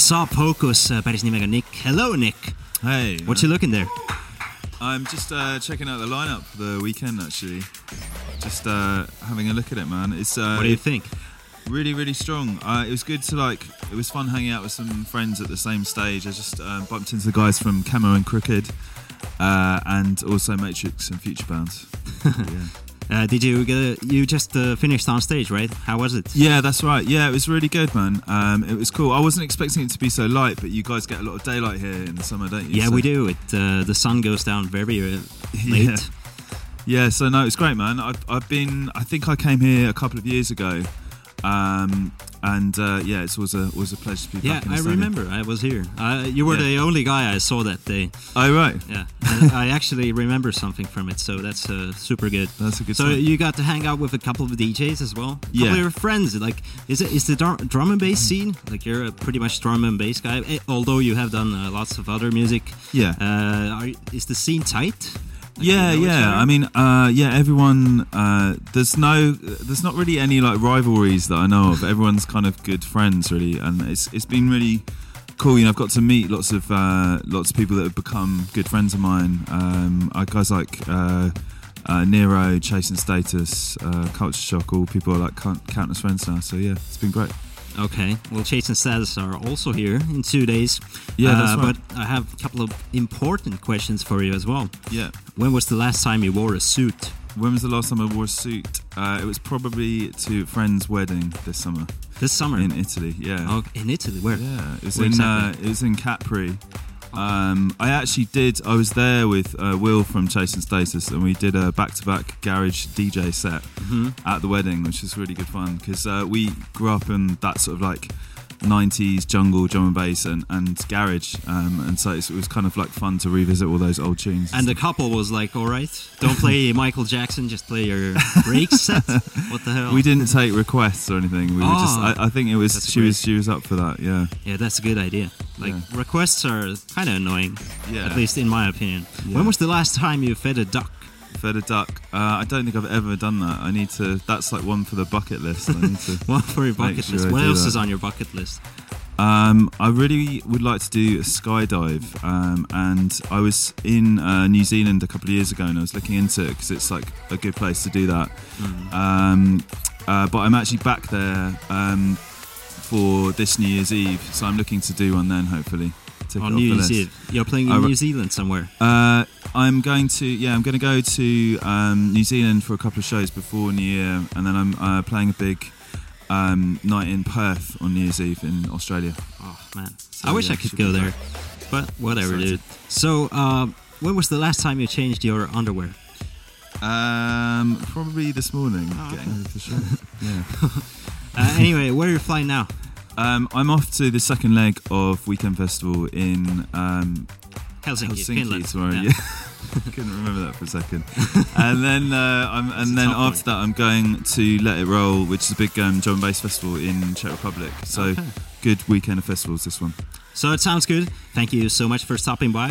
saab Hookus äh, päris nimega Nick . Hello , Nick . Hey, What you looking there ? I'm just uh, checking out the lineup for the weekend actually. Just uh, having a look at it, man. It's uh, What do you think ? really, really strong. Uh, it was good to like. It was fun hanging out with some friends at the same stage. I just uh, bumped into the guys from Camo and Crooked, uh, and also Matrix and Future Bound. yeah. Uh, did you get, you just uh, finished on stage, right? How was it? Yeah, that's right. Yeah, it was really good, man. Um, it was cool. I wasn't expecting it to be so light, but you guys get a lot of daylight here in the summer, don't you? Yeah, So- we do. It uh, the sun goes down very uh, late. Yeah. Yeah, so no, it's great, man. I've, I've been, I think I came here a couple of years ago, um, and uh, yeah, it's always a always a pleasure to be Yeah, back. in I Estonia. remember. I was here. Uh, you were Yeah. the only guy I saw that day. Oh right, Yeah, and I actually remember something from it, so that's uh, super good. that's a good. so sign. you got to hang out with a couple of DJs as well. couple Yeah. of your friends. Like, is it is the drum, drum and bass scene? Like, you're a pretty much drum and bass guy. eh, Although you have done uh, lots of other music. yeah, Uh, are, is the scene tight? Like, you yeah, know each yeah. other? I mean, uh, yeah, everyone. Uh, there's no, there's not really any like rivalries that I know of. Everyone's kind of good friends, really, and it's it's been really cool. You know, I've got to meet lots of uh, lots of people that have become good friends of mine. Um, uh, guys like. Uh, uh, Nero, Chasing Status, uh, Culture Shock, all people are like count- countless friends now. So yeah, it's been great. Okay. Well, Chase and Status are also here in two days. Uh, Yeah, that's right. But I have a couple of important questions for you as well. Yeah. When was the last time you wore a suit? When was the last time I wore a suit? Uh, it was probably to a friend's wedding this summer This summer. in Italy. Yeah. oh, in Italy. Where? Yeah, it was Where in exactly? uh, it was in Capri. Um, I actually did. I was there with uh, Will from Chase and Status, and we did a back-to-back garage DJ set Mm-hmm. at the wedding, which was really good fun because uh, we grew up in that sort of like. 90s jungle drum and bass and, and garage um, and so it's- it was kind of like fun to revisit all those old tunes And the couple was like, all right, don't play Michael Jackson, just play your break set. What the hell? we didn't take requests or anything we were just Oh, I, I think it was uh, that's she was great. she was up for that yeah yeah, that's a good idea. Like, Yeah. requests are kind of annoying, yeah at least in my opinion. Yeah. When was the last time you fed a duck? Fed a duck. Uh, I don't think I've ever done that. I need to. That's like one for the bucket list. I need to. One for your Make bucket sure list. I What do else is that. on your bucket list? Um, I really would like to do a skydive. Um, and I was in uh, New Zealand a couple of years ago, and I was looking into it because it's like a good place to do that. Um, uh, but I'm actually back there um, for this New Year's Eve, so I'm looking to do one then. Hopefully, Tick it On off New the Year's list. Eve. You're playing in I re- New Zealand somewhere. Uh, I'm going to yeah, I'm going to go to um, New Zealand for a couple of shows before New Year, and then I'm uh, playing a big um, night in Perth on New Year's Eve in Australia. Oh man, So, I wish yeah, I could should be go there, fun. but whatever, Excited. dude. So, uh, when was the last time you changed your underwear? Um, probably this morning. Oh, getting ready for show. yeah. Uh, anyway, where are you flying now? Um, I'm off to the second leg of Weekend Festival in um, Helsinki, Helsinki Finland. tomorrow. Yeah. Yeah. Couldn't remember that for a second. And then uh, I'm, It's a and then tough one. after that, I'm going to Let It Roll, which is a big um, drum and bass festival in Czech Republic. So Okay. good weekend of festivals. This one. So it sounds good. Thank you so much for stopping by.